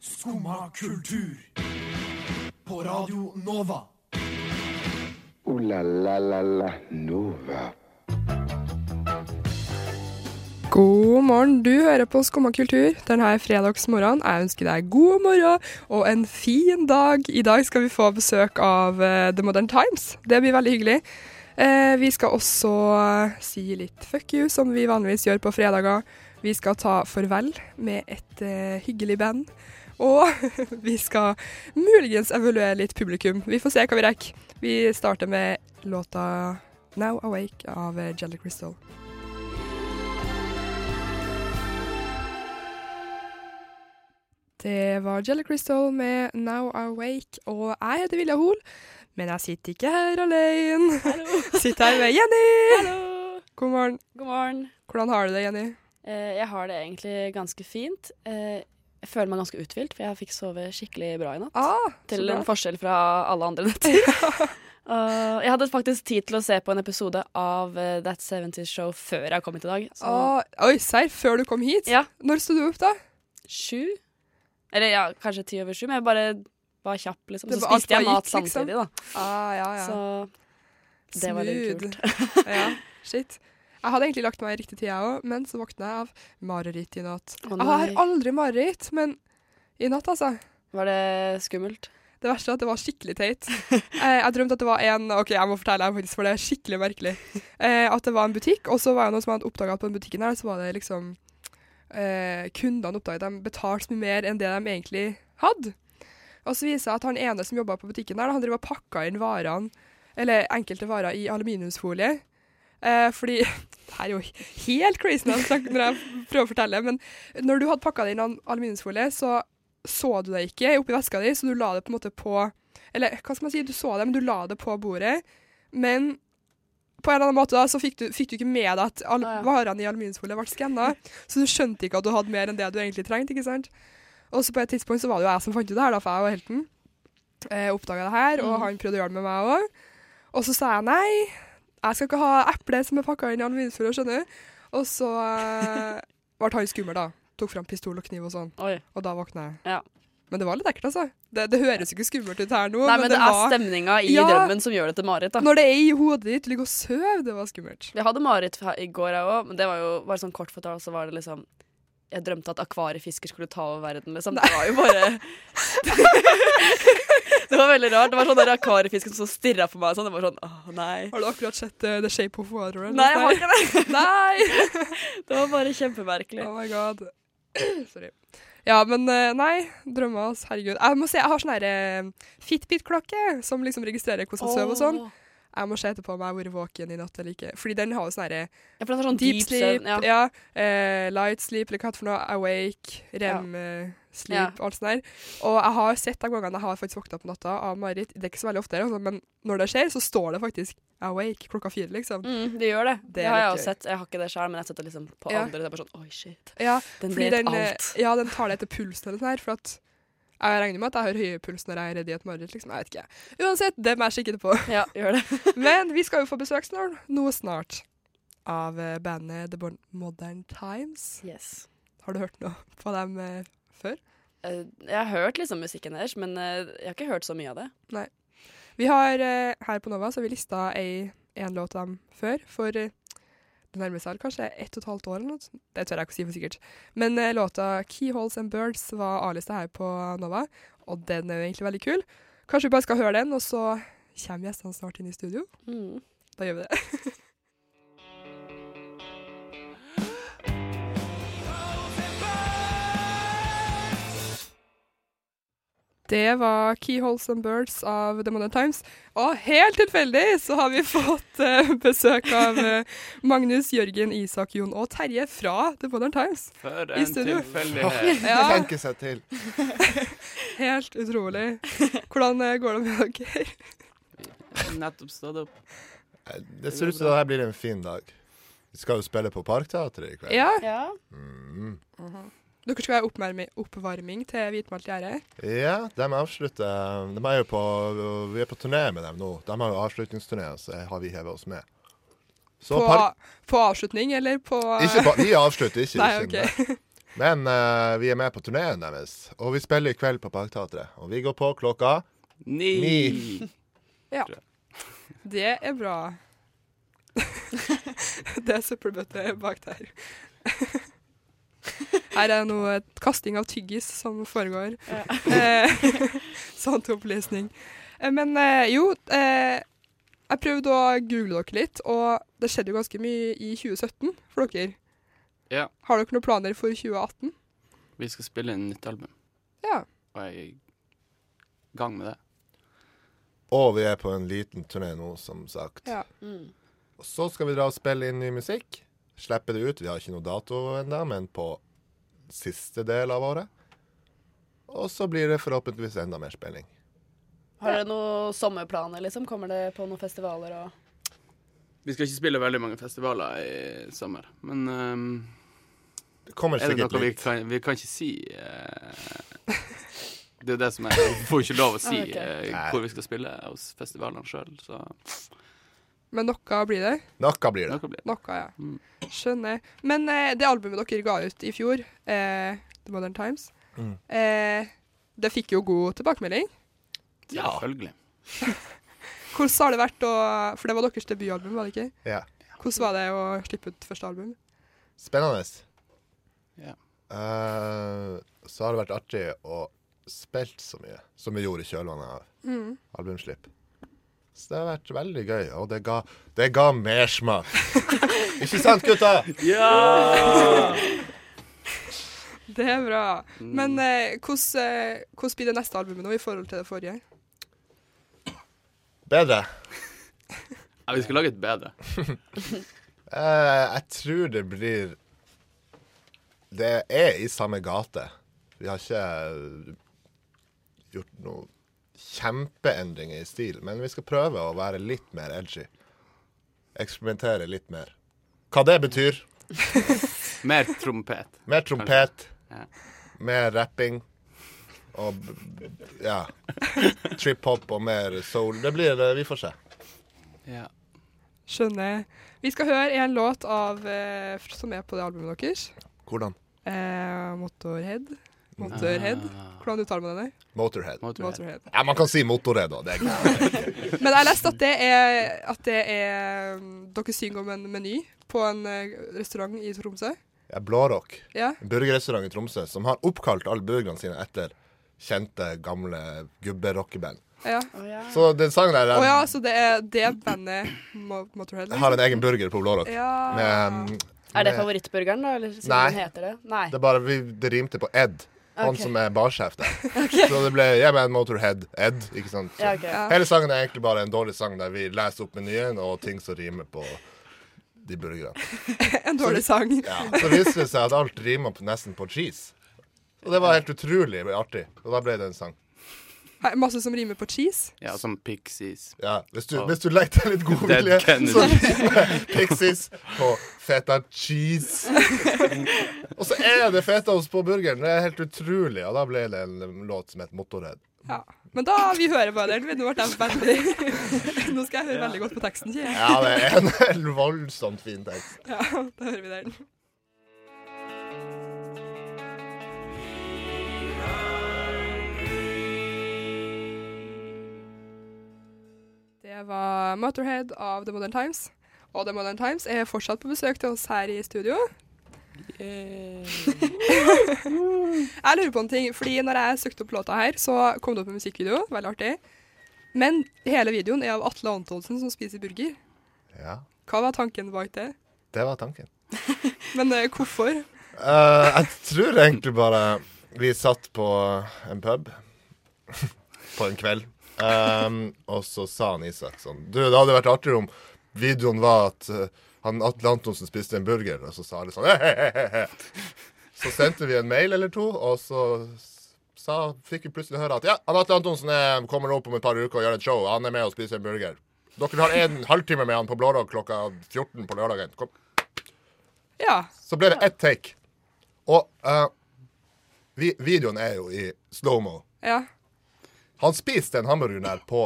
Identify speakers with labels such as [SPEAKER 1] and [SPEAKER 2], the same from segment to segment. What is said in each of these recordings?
[SPEAKER 1] Skumma kultur. På Radio Nova.
[SPEAKER 2] Ooh la la la la Nova.
[SPEAKER 3] God morgen, du hører på Skumma kultur. Denne fredagsmorgenen jeg ønsker deg god morgen og en fin dag. I dag skal vi få besøk av eh, The Modern Times. Det blir veldig hyggelig. Eh, Vi skal også eh, si litt fuck you, som vi vanligvis gjør på fredager. Vi skal ta farvel med et eh, hyggelig band. Og vi skal muligens evaluere litt publikum. Vi får se hva vi rekker. Vi starter med låta Now Awake av eh, Jelly Crystal. Det var Jelly Crystal med Now Awake, og jeg heter Vilja Hol. Men jeg sitter ikke her alene.
[SPEAKER 4] Hallo.
[SPEAKER 3] Sitter her med Jenny.
[SPEAKER 4] Hallo.
[SPEAKER 3] God morgen.
[SPEAKER 4] God morgen.
[SPEAKER 3] Hvordan har du det, Jenny?
[SPEAKER 4] Eh, jeg har det egentlig ganske fint. Eh, jeg føler meg ganske uthvilt, for jeg fikk sove skikkelig bra i natt.
[SPEAKER 3] Ah,
[SPEAKER 4] til
[SPEAKER 3] så
[SPEAKER 4] en
[SPEAKER 3] bra.
[SPEAKER 4] forskjell fra alle andre netter. Og jeg hadde faktisk tid til å se på en episode av eh, That 70's Show før jeg kom hit i dag. Så
[SPEAKER 3] Ah, oi, serr, før du kom hit?
[SPEAKER 4] Ja.
[SPEAKER 3] Når sto du opp, da?
[SPEAKER 4] sju Eller ja, kanskje ti over sju, men jeg bare var kjapp, liksom.
[SPEAKER 3] Det
[SPEAKER 4] Så
[SPEAKER 3] var alt
[SPEAKER 4] spiste jeg
[SPEAKER 3] bare
[SPEAKER 4] mat
[SPEAKER 3] gikk, liksom.
[SPEAKER 4] samtidig, da.
[SPEAKER 3] Ah, ja, ja.
[SPEAKER 4] Så det var litt
[SPEAKER 3] Smooth.
[SPEAKER 4] kult.
[SPEAKER 3] ja, shit. Jeg hadde egentlig lagt meg i riktig tid, jeg òg, men så våkna jeg av mareritt i natt.
[SPEAKER 4] Å,
[SPEAKER 3] jeg har
[SPEAKER 4] nei.
[SPEAKER 3] aldri mareritt, men i natt, altså.
[SPEAKER 4] Var det skummelt?
[SPEAKER 3] Det verste er at det var skikkelig teit. Eh, jeg drømte at det var en Ok, jeg må fortelle, jeg faktisk, for det er skikkelig merkelig. Eh, at det var en butikk, og så var det noen som hadde oppdaga at på den butikken her, så var det liksom eh, Kundene oppdaget at de betalte så mye mer enn det de egentlig hadde. Og så viser det seg at han ene som jobba på butikken der, han drev og pakka inn varene, eller enkelte varer, i aluminiumsfolie. Eh, fordi Det her er jo helt crazy når jeg snakker- når jeg prøver å fortelle, men når du hadde pakka det inn al- aluminiumsfolie, så så du det ikke oppi veska di, så du la det på en måte på Eller hva skal man si, du så det, men du la det på bordet. Men på en eller annen måte da, så fikk du, fikk du ikke med deg at al
[SPEAKER 4] Ah, ja.
[SPEAKER 3] varene i aluminiumsfolie ble skanna, så du skjønte ikke at du hadde mer enn det du egentlig trengte. ikke sant? Og så på et tidspunkt så var det jo jeg som fant ut det her, da, for jeg var helten. Eh, Oppdaga det her, og
[SPEAKER 4] Mm.
[SPEAKER 3] han prøvde å gjøre det med meg òg. Og så sa jeg nei, jeg skal ikke ha eple som er pakka inn i aluminiumsfolie, skjønner du. Og så eh, ble han skummel, da. Tok fram pistol og kniv og sånn.
[SPEAKER 4] Oi.
[SPEAKER 3] Og da våkna jeg.
[SPEAKER 4] Ja.
[SPEAKER 3] Men det var litt ekkelt, altså. Det, det høres jo ikke skummelt ut her nå,
[SPEAKER 4] Nei, men det er
[SPEAKER 3] var
[SPEAKER 4] stemninga i
[SPEAKER 3] Ja.
[SPEAKER 4] drømmen som gjør det til mareritt, da.
[SPEAKER 3] Når det er i hodet ditt, ligg og søv, det var skummelt.
[SPEAKER 4] Jeg hadde mareritt fra- i går, jeg òg, men det var jo bare sånn kort fortalt, så var det liksom Jeg drømte at akvariefisker skulle ta over verden, liksom. Det var jo bare Det var veldig rart. Det var sånn der akvariefisken som stirra på meg sånn. Det var sånn åh, nei.
[SPEAKER 3] Har du akkurat sett eh, The Shape of Water? eller?
[SPEAKER 4] Nei, jeg har ikke det.
[SPEAKER 3] Nei!
[SPEAKER 4] Det var bare kjempemerkelig.
[SPEAKER 3] Oh my god. Sorry. Ja, men eh, nei, drømmer oss, herregud. Jeg må se, jeg har sånn her eh, Fitbit-klokke som liksom registrerer hvordan jeg sover og sånn.
[SPEAKER 4] Åh.
[SPEAKER 3] Jeg må se etterpå om jeg har vært våken i natt eller ikke. Fordi den har jo sånn herre
[SPEAKER 4] Ja, for det er sånn
[SPEAKER 3] Deep sleep,
[SPEAKER 4] søvn,
[SPEAKER 3] ja.
[SPEAKER 4] Ja.
[SPEAKER 3] eh, light sleep, eller hva det er for noe. Awake, rem, eh, sleep,
[SPEAKER 4] Ja.
[SPEAKER 3] alt sånt der. Og jeg har sett de gangene jeg har faktisk våkna på natta av mareritt. Det er ikke så veldig ofte, altså, men når det skjer, så står det faktisk awake klokka fire, liksom.
[SPEAKER 4] Mm, det gjør det. Det,
[SPEAKER 3] Det er
[SPEAKER 4] har jeg
[SPEAKER 3] litt
[SPEAKER 4] også
[SPEAKER 3] gøy.
[SPEAKER 4] sett. Jeg har ikke det sjøl, men jeg har sett det liksom på
[SPEAKER 3] Ja.
[SPEAKER 4] andre. Det er bare sånn oi, shit.
[SPEAKER 3] Ja,
[SPEAKER 4] Den
[SPEAKER 3] fordi
[SPEAKER 4] vet
[SPEAKER 3] den, eh,
[SPEAKER 4] alt.
[SPEAKER 3] ja, den tar det etter pulsen eller sånn her, for at jeg regner med at jeg har høyere puls når jeg er redd i et mareritt, liksom. Jeg vet ikke. Uansett, det må jeg sjekke det på.
[SPEAKER 4] Ja, gjør det.
[SPEAKER 3] Men vi skal jo få besøk snart, noe snart, av eh, bandet The Bon- Modern Times.
[SPEAKER 4] Yes.
[SPEAKER 3] Har du hørt noe på dem eh, før?
[SPEAKER 4] Eh, Jeg har hørt liksom musikken deres, men eh, jeg har ikke hørt så mye av det.
[SPEAKER 3] Vi har eh, her på Nova så har vi lista ei, en låt av dem før, for eh, det nærmer seg vel kanskje ett og et halvt år eller noe. Det tør jeg ikke å si for sikkert. Men eh, låta 'Keyholes and Birds' var A-lista her på Nova, og den er jo egentlig veldig kul. Kanskje vi bare skal høre den, og så kommer gjestene snart inn i studio.
[SPEAKER 4] Mm.
[SPEAKER 3] Da gjør vi det. Det var Keyholes and Birds av The Modern Times. Og helt tilfeldig så har vi fått eh, besøk av eh, Magnus, Jørgen, Isak, Jon og Terje fra The Modern Times.
[SPEAKER 5] For
[SPEAKER 3] I
[SPEAKER 5] en
[SPEAKER 3] studio.
[SPEAKER 5] tilfeldighet.
[SPEAKER 3] Ja,
[SPEAKER 6] tenke seg til.
[SPEAKER 3] helt utrolig. Hvordan eh, går det med dere?
[SPEAKER 5] Nettopp stått opp.
[SPEAKER 6] Det ser ut som det her blir en fin dag. Vi skal jo spille på Parkteatret i kveld.
[SPEAKER 3] Ja,
[SPEAKER 4] Ja.
[SPEAKER 6] Mm.
[SPEAKER 3] dere skal ha oppvarming, oppvarming til Hvitmalt gjerde.
[SPEAKER 6] ja de avslutter de er jo på, Vi er på turné med dem nå. De har jo avslutningsturné, så har vi hevet oss med. Så
[SPEAKER 3] På,
[SPEAKER 6] park,
[SPEAKER 3] på avslutning, eller på
[SPEAKER 6] ikke, ba- vi avslutter ikke.
[SPEAKER 3] Nei,
[SPEAKER 6] ikke
[SPEAKER 3] ok.
[SPEAKER 6] Men eh, vi er med på turneen deres, og vi spiller i kveld på Parkteatret. Og vi går på klokka
[SPEAKER 5] Ni.
[SPEAKER 6] Ni.
[SPEAKER 3] Det er bra. det er søppelbøtte bak der. Her er noe kasting av tyggis som foregår. Eh, Sånn til opplysning. Eh, Men eh, jo, eh, jeg prøvde å google dere litt, og det skjedde jo ganske mye i 2017 for dere.
[SPEAKER 5] Ja.
[SPEAKER 3] Har dere noen planer for 2018?
[SPEAKER 5] Vi skal spille inn nytt album,
[SPEAKER 3] Ja.
[SPEAKER 5] og jeg er i gang med det.
[SPEAKER 6] Og vi er på en liten turné nå, som sagt.
[SPEAKER 3] Ja.
[SPEAKER 4] Mm.
[SPEAKER 6] Og så skal vi dra og spille inn ny musikk. Slippe det ut. Vi har ikke noe dato ennå, men på siste del av året. Og så blir det forhåpentligvis enda mer spilling.
[SPEAKER 4] Har dere noen sommerplaner, liksom? Kommer det på noen festivaler og
[SPEAKER 5] Vi skal ikke spille veldig mange festivaler i sommer, men ehm,
[SPEAKER 6] Det kommer
[SPEAKER 5] er det
[SPEAKER 6] sikkert
[SPEAKER 5] noe vi
[SPEAKER 6] litt.
[SPEAKER 5] kan, vi kan ikke si eh, Det er det som er Vi får ikke lov å si
[SPEAKER 4] Ah, ok.
[SPEAKER 5] eh,
[SPEAKER 6] Nei.
[SPEAKER 5] hvor vi skal spille hos festivalene sjøl, så
[SPEAKER 3] Men noe blir det.
[SPEAKER 6] Noe blir det.
[SPEAKER 5] noe blir det.
[SPEAKER 3] Noe, ja.
[SPEAKER 5] Mm.
[SPEAKER 3] Skjønner. Men eh, det albumet dere ga ut i fjor, eh, The Modern Times,
[SPEAKER 6] Mm.
[SPEAKER 3] eh, det fikk jo god tilbakemelding.
[SPEAKER 6] Ja.
[SPEAKER 5] Selvfølgelig.
[SPEAKER 3] Hvordan har det vært å For det var deres debutalbum, var det ikke?
[SPEAKER 6] Ja.
[SPEAKER 3] Hvordan var det å slippe ut første album?
[SPEAKER 6] Spennende.
[SPEAKER 5] Ja.
[SPEAKER 6] Eh, så har det vært artig å spilt så mye som vi gjorde i kjølvannet av albumslipp. Så det har vært veldig gøy, og det ga, det ga mersmak. Ikke sant, gutta?
[SPEAKER 3] Det er bra. Men eh, hvordan, eh, hvordan blir det neste albumet nå i forhold til det forrige?
[SPEAKER 6] Bedre.
[SPEAKER 5] Ja, vi skal lage et bedre.
[SPEAKER 6] Eh, jeg tror det blir Det er i samme gate. Vi har ikke eh, gjort noen kjempeendringer i stil, men vi skal prøve å være litt mer edgy. Eksperimentere litt mer. Hva det betyr?
[SPEAKER 5] Mer trompet.
[SPEAKER 6] Mer trompet,
[SPEAKER 5] Ja.
[SPEAKER 6] mer rapping og b- b- ja. Trip-hop og mer soul. Det blir det. Vi får se.
[SPEAKER 5] Ja.
[SPEAKER 3] Skjønner. Vi skal høre en låt av, eh, f- som er på det albumet deres.
[SPEAKER 6] Hvordan?
[SPEAKER 3] Eh, Motorhead. Motorhead. Hvordan uttaler man det?
[SPEAKER 6] Motorhead.
[SPEAKER 5] Motorhead.
[SPEAKER 3] Motorhead.
[SPEAKER 6] Ja, man kan si motorhead òg. Det er greit.
[SPEAKER 3] Men jeg har lest at det er, at det er um, Dere synger om en meny på en eh, restaurant i Tromsø.
[SPEAKER 6] Ja, Blårock.
[SPEAKER 3] Ja.
[SPEAKER 6] En burgerrestaurant i Tromsø som har oppkalt alle burgerne sine etter kjente, gamle gubbe-rockeband.
[SPEAKER 3] ja.
[SPEAKER 6] Så den sangen der
[SPEAKER 3] Å
[SPEAKER 6] den
[SPEAKER 3] ja, så det er det bandet Mo Motorhead? liksom?
[SPEAKER 6] Um, har en egen burger på Blårock.
[SPEAKER 3] Ja.
[SPEAKER 6] Med, mm,
[SPEAKER 4] Er det
[SPEAKER 6] med-
[SPEAKER 4] favorittburgeren, da? Eller siden
[SPEAKER 6] Nei.
[SPEAKER 4] den heter det? Nei.
[SPEAKER 6] Det er bare vi, det rimte på Ed, han
[SPEAKER 4] Ok.
[SPEAKER 6] som er barsjef der. Så det ble Yeah Man Motorhead Ed, ikke sant. Så.
[SPEAKER 4] Ja, ok.
[SPEAKER 3] Ja.
[SPEAKER 6] Hele sangen er egentlig bare en dårlig sang der vi leser opp menyen og ting som rimer på de burgerne.
[SPEAKER 3] En dårlig sang.
[SPEAKER 6] Ja, så viser det seg at alt rimer på, nesten på cheese. Og det var helt utrolig artig. Og da ble det en sang.
[SPEAKER 3] Her, Masse som rimer på cheese.
[SPEAKER 5] Ja, som Pixies.
[SPEAKER 6] Ja, hvis du,
[SPEAKER 5] Ja.
[SPEAKER 6] hvis du leter litt god
[SPEAKER 5] Dead
[SPEAKER 6] vilje,
[SPEAKER 5] Kennedys.
[SPEAKER 6] så rimer Pixies på feta cheese. Og så er det fetaost på burgeren. Det er helt utrolig. Og da ble det en låt som het Motorhead.
[SPEAKER 3] Ja. Men da vi hører på den. Nå ble jeg veldig Nå skal jeg høre veldig godt på teksten, sier jeg.
[SPEAKER 6] Ja, det er en helt voldsomt fin tekst.
[SPEAKER 3] Ja, da hører vi den. Det var Motorhead av The Modern Times. Og The Modern Times er fortsatt på besøk til oss her i studio. jeg lurer på en ting, fordi når jeg søkte opp låta her, så kom det opp en musikkvideo. Veldig artig. Men hele videoen er av Atle Antonsen som spiser burger.
[SPEAKER 6] Ja,
[SPEAKER 3] Hva var tanken bak det?
[SPEAKER 6] det var tanken.
[SPEAKER 3] Men eh, hvorfor?
[SPEAKER 6] Eh, jeg tror egentlig bare vi satt på en pub på en kveld. Ehm, og så sa han Isak sånn Du, det hadde vært artigere om videoen var at eh, han Atle Antonsen spiste en burger, og så sa alle sånn «Hehehehe». Så sendte vi en mail eller to, og så s- sa, fikk vi plutselig høre at ja, han Atle Antonsen er, kommer opp om et par uker og gjør et show. Han er med og spiser en burger. Dere har en halvtime med han på Blårock klokka 14 på lørdagen. Kom.
[SPEAKER 3] Ja.
[SPEAKER 6] Så ble det ett take. Og eh, vi, videoen er jo i slow-mo.
[SPEAKER 3] ja.
[SPEAKER 6] Han spiste den hamburgeren der på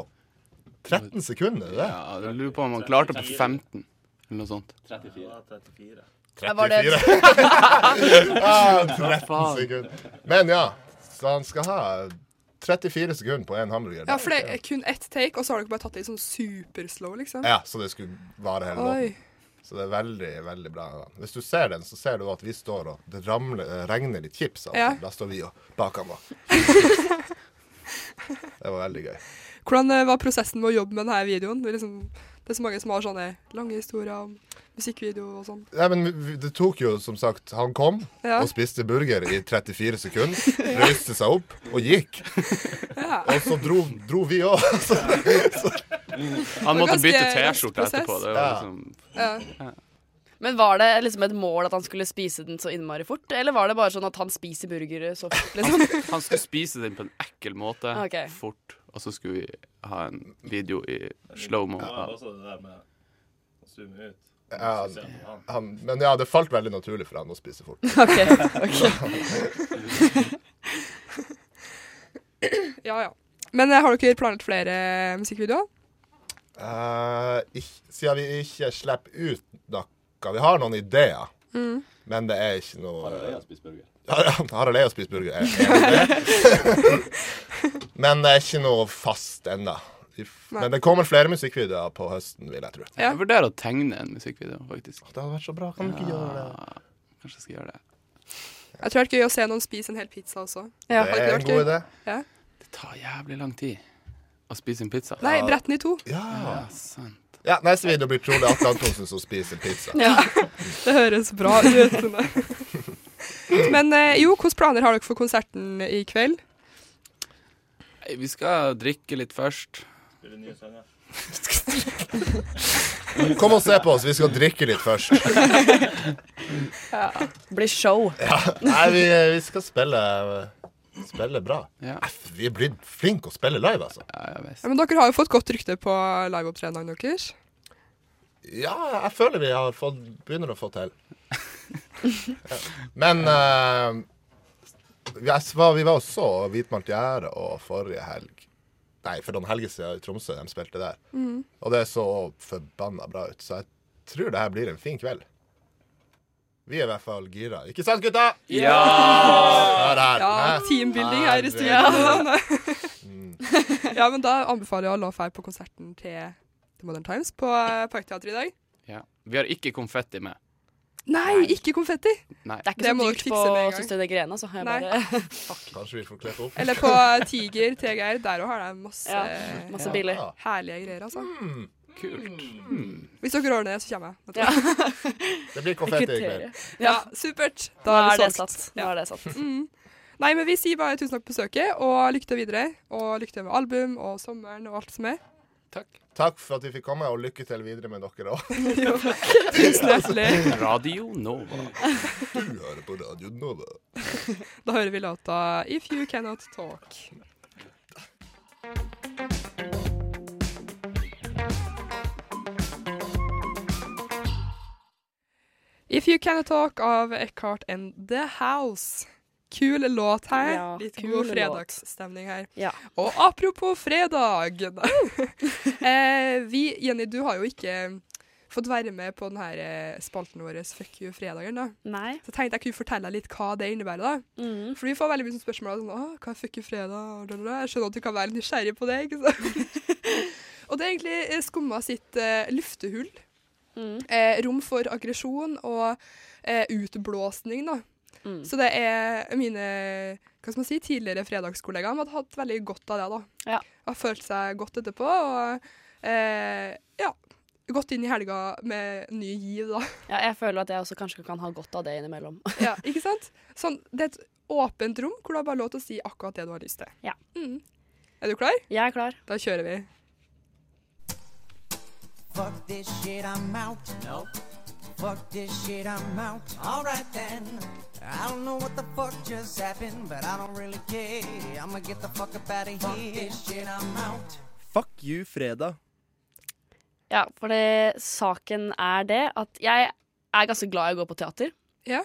[SPEAKER 6] 13 sekunder. er Det.
[SPEAKER 5] Ja, jeg lurer på om han klarte det på 15, eller noe sånt.
[SPEAKER 4] Var det-
[SPEAKER 6] 34. ah, 13
[SPEAKER 5] faen?
[SPEAKER 6] sekunder. Men ja, så han skal ha 34 sekunder på én hamburger.
[SPEAKER 3] Ja, for det er kun ett take, og så har dere bare tatt det i sånn superslow, liksom.
[SPEAKER 6] Ja, så det skulle vare hele
[SPEAKER 3] Oi.
[SPEAKER 6] låten. Så det er veldig, veldig bra. Hvis du ser den, så ser du at vi står og det ramler, eh, regner litt chips. Altså.
[SPEAKER 3] Ja.
[SPEAKER 6] Da står vi og baker den. da. Det var veldig gøy.
[SPEAKER 3] Hvordan eh, var prosessen med å jobbe med denne videoen? Det er, liksom, det er så mange som har sånne lange historier om musikkvideo og sånn.
[SPEAKER 6] Nei, men vi- Det tok jo, som sagt Han kom
[SPEAKER 3] Ja.
[SPEAKER 6] og spiste burger i 34 sekunder. Røyste seg opp og gikk.
[SPEAKER 3] Ja.
[SPEAKER 6] Og så dro, dro vi òg.
[SPEAKER 5] Han måtte
[SPEAKER 3] ganske
[SPEAKER 5] bytte
[SPEAKER 3] rask
[SPEAKER 5] T-skjorte
[SPEAKER 3] prosess.
[SPEAKER 5] etterpå. Det var
[SPEAKER 6] Ja.
[SPEAKER 5] liksom
[SPEAKER 3] Ja.
[SPEAKER 4] Men var det liksom et mål at han skulle spise den så innmari fort, eller var det bare sånn at han spiser burgere så fort, liksom?
[SPEAKER 5] Han skulle spise den på en ekkel måte,
[SPEAKER 4] Ok.
[SPEAKER 5] fort, og så skulle vi ha en video i slow-mo.
[SPEAKER 7] Ja,
[SPEAKER 5] av-
[SPEAKER 7] også det sånn. der med å zoome ut.
[SPEAKER 6] Ja,
[SPEAKER 7] Se på han.
[SPEAKER 6] han, men ja, det falt veldig naturlig for han å spise fort.
[SPEAKER 4] Ok, ok.
[SPEAKER 3] ja, ja. Men eh, har dere planlagt flere musikkvideoer?
[SPEAKER 6] Eh, ikk- siden vi ikke slipper ut noe Vi har noen ideer,
[SPEAKER 3] Mm.
[SPEAKER 6] men det er ikke noe
[SPEAKER 7] Bare det å spise burger.
[SPEAKER 6] Harald er jo spist burger. Jeg er enig i det. Men det er ikke noe fast ennå. Vi f-
[SPEAKER 3] Nei.
[SPEAKER 6] Men det kommer flere musikkvideoer på høsten, vil jeg tro.
[SPEAKER 3] Ja.
[SPEAKER 5] Jeg vurderer å tegne en musikkvideo, faktisk.
[SPEAKER 6] Det hadde vært så bra. Kan du ikke gjøre det?
[SPEAKER 5] Kanskje jeg skal gjøre det.
[SPEAKER 3] Jeg tror det er gøy å se noen spise en hel pizza også.
[SPEAKER 4] Ja.
[SPEAKER 6] Det er en god idé.
[SPEAKER 5] Det tar jævlig lang tid å spise en pizza.
[SPEAKER 3] Nei, brett den i to.
[SPEAKER 6] Ja.
[SPEAKER 5] Ja, sant.
[SPEAKER 6] ja. Neste video blir trolig Atle Antonsen som spiser pizza.
[SPEAKER 4] Ja.
[SPEAKER 3] Det høres bra ut. Men eh, jo, hvilke planer har dere for konserten i kveld?
[SPEAKER 5] Nei, Vi skal drikke litt først.
[SPEAKER 7] Spiller nye sanger.
[SPEAKER 6] Kom og se på oss. Vi skal drikke litt først.
[SPEAKER 4] Blir show.
[SPEAKER 6] Nei, vi, vi skal spille Spille bra.
[SPEAKER 5] Ja,
[SPEAKER 6] F, Vi er blitt flinke å spille live, altså.
[SPEAKER 5] ja, ja visst.
[SPEAKER 3] Ja, men dere har jo fått godt rykte på liveopptredenene deres.
[SPEAKER 6] Ja, jeg føler vi har fått, begynner å få til. Ja. Men eh, jeg var, vi var også Hvitmalt gjerde og forrige helg Nei, for noen helger siden i Tromsø de spilte der. Og det så forbanna bra ut, så jeg tror det her blir en fin kveld. Vi er i hvert fall gira. Ikke sant, gutta? Hør her.
[SPEAKER 3] Ja,
[SPEAKER 6] Hæ?
[SPEAKER 3] teambuilding her i studio. Ja, men da anbefaler jeg å la fære på konserten til The Modern Times på eh, Parkteatret i dag.
[SPEAKER 5] Ja. Vi har ikke konfetti med.
[SPEAKER 3] Nei, ikke konfetti!
[SPEAKER 5] Nei.
[SPEAKER 4] Det er ikke
[SPEAKER 3] Det
[SPEAKER 4] så
[SPEAKER 3] må dere
[SPEAKER 4] dyrt
[SPEAKER 3] fikse
[SPEAKER 4] på
[SPEAKER 3] med en gang.
[SPEAKER 4] Søstrene Grene, så har jeg
[SPEAKER 3] Nei.
[SPEAKER 4] bare
[SPEAKER 6] Kanskje vi får kledd opp.
[SPEAKER 3] Eller på Tiger, TGR. Der òg har de masse
[SPEAKER 4] ja,
[SPEAKER 3] Eh,
[SPEAKER 4] masse biler.
[SPEAKER 6] Ja.
[SPEAKER 3] herlige greier, altså.
[SPEAKER 5] Kult.
[SPEAKER 3] Hvis dere ordner det, så kommer jeg.
[SPEAKER 4] Ja.
[SPEAKER 6] Det blir konfetti i kveld.
[SPEAKER 3] Ja, supert.
[SPEAKER 4] Nå
[SPEAKER 3] Da
[SPEAKER 4] er det
[SPEAKER 3] solgt. Mm.
[SPEAKER 4] satt. Nå er det satt.
[SPEAKER 3] Nei, men vi sier bare tusen takk for besøket, og lykke til videre. Og lykke til med album og sommeren og alt som er.
[SPEAKER 5] Takk.
[SPEAKER 6] Takk for at vi fikk komme, og lykke til videre med dere òg.
[SPEAKER 3] Tusen hjertelig.
[SPEAKER 5] Radio Nova.
[SPEAKER 6] Du hører på Radio Nova.
[SPEAKER 3] Da hører vi låta If You Cannot Talk. If You Cannot Talk av Eckhart and The House. Kul låt her.
[SPEAKER 4] Ja,
[SPEAKER 3] Litt
[SPEAKER 4] kul
[SPEAKER 3] god
[SPEAKER 4] låt.
[SPEAKER 3] fredagsstemning her.
[SPEAKER 4] Ja.
[SPEAKER 3] Og apropos fredag eh, Vi, Jenny, du har jo ikke eh, fått være med på denne spalten vår Fuck you fredagen. da.
[SPEAKER 4] Nei.
[SPEAKER 3] Så tenkte jeg kunne fortelle deg litt hva det innebærer. da.
[SPEAKER 4] Mhm.
[SPEAKER 3] For vi får veldig mye sånn spørsmål sånn, «Åh, hva er fuck you fredag? Da, da, da. Jeg skjønner at du kan være litt nysgjerrig på det. ikke sant? og det er egentlig eh, Skumma sitt eh, luftehull.
[SPEAKER 4] Mhm.
[SPEAKER 3] Eh, rom for aggresjon og eh, utblåsning, da.
[SPEAKER 4] Mm.
[SPEAKER 3] Så det er mine hva skal man si, tidligere fredagskollegaer som hadde hatt veldig godt av det. da.
[SPEAKER 4] Ja.
[SPEAKER 3] Har følt seg godt etterpå og eh, ja, gått inn i helga med ny giv, da.
[SPEAKER 4] Ja, jeg føler at jeg også kanskje kan ha godt av det innimellom.
[SPEAKER 3] ja, ikke sant? Sånn, det er et åpent rom hvor du har bare lov til å si akkurat det du har lyst til.
[SPEAKER 4] Ja.
[SPEAKER 3] Mm. Er du klar?
[SPEAKER 4] Jeg er klar.
[SPEAKER 3] Da kjører vi.
[SPEAKER 8] Fuck this shit, I'm out. No. Fuck this shit, I'm out. Alright then. I don't know what the fuck just happened, but I don't really care. I'ma get the fuck up out of here. Fuck this shit, I'm out.
[SPEAKER 1] Fuck you, fredag.
[SPEAKER 4] Ja, for det, saken er det at jeg er ganske glad i å gå på teater.
[SPEAKER 3] Ja.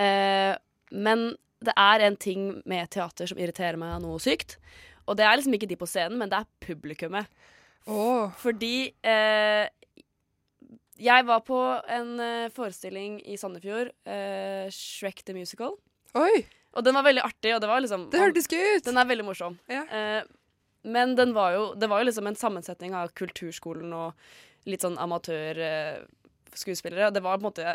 [SPEAKER 4] Eh, men det er en ting med teater som irriterer meg noe sykt. Og det er liksom ikke de på scenen, men det er publikummet.
[SPEAKER 3] Åh,
[SPEAKER 4] Fordi eh, Jeg var på en eh, forestilling i Sandefjord, eh, Shrek the Musical.
[SPEAKER 3] Oi,
[SPEAKER 4] Og den var veldig artig, og det var liksom
[SPEAKER 3] det hørtes gøy ut!
[SPEAKER 4] Den er veldig morsom.
[SPEAKER 3] Ja.
[SPEAKER 4] Eh, men den var jo, det var jo liksom en sammensetning av kulturskolen og litt sånn amatørskuespillere. og det var på en måte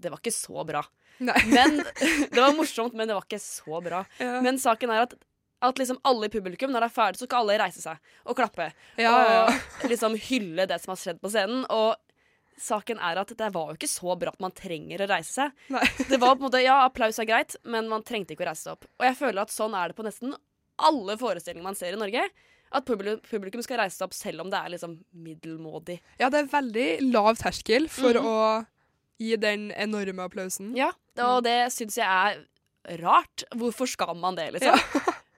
[SPEAKER 4] Det var ikke så bra.
[SPEAKER 3] Nei.
[SPEAKER 4] Men Det var morsomt, men det var ikke så bra.
[SPEAKER 3] Ja.
[SPEAKER 4] Men saken er at, at liksom alle i publikum, når det er ferdig, så skal alle reise seg og klappe.
[SPEAKER 3] ja, ja, ja.
[SPEAKER 4] Og liksom hylle det som har skjedd på scenen. Og saken er at det var jo ikke så bra at man trenger å reise seg.
[SPEAKER 3] Nei.
[SPEAKER 4] Det var på en måte, Ja, applaus er greit, men man trengte ikke å reise seg opp. Og jeg føler at sånn er det på nesten alle forestillinger man ser i Norge. At publi- publikum skal reise seg opp selv om det er liksom middelmådig.
[SPEAKER 3] ja, det er veldig lav terskel for å gi den enorme applausen.
[SPEAKER 4] Mhm. Ja, Og det syns jeg er rart. Hvorfor skal man det, liksom?
[SPEAKER 3] Ja.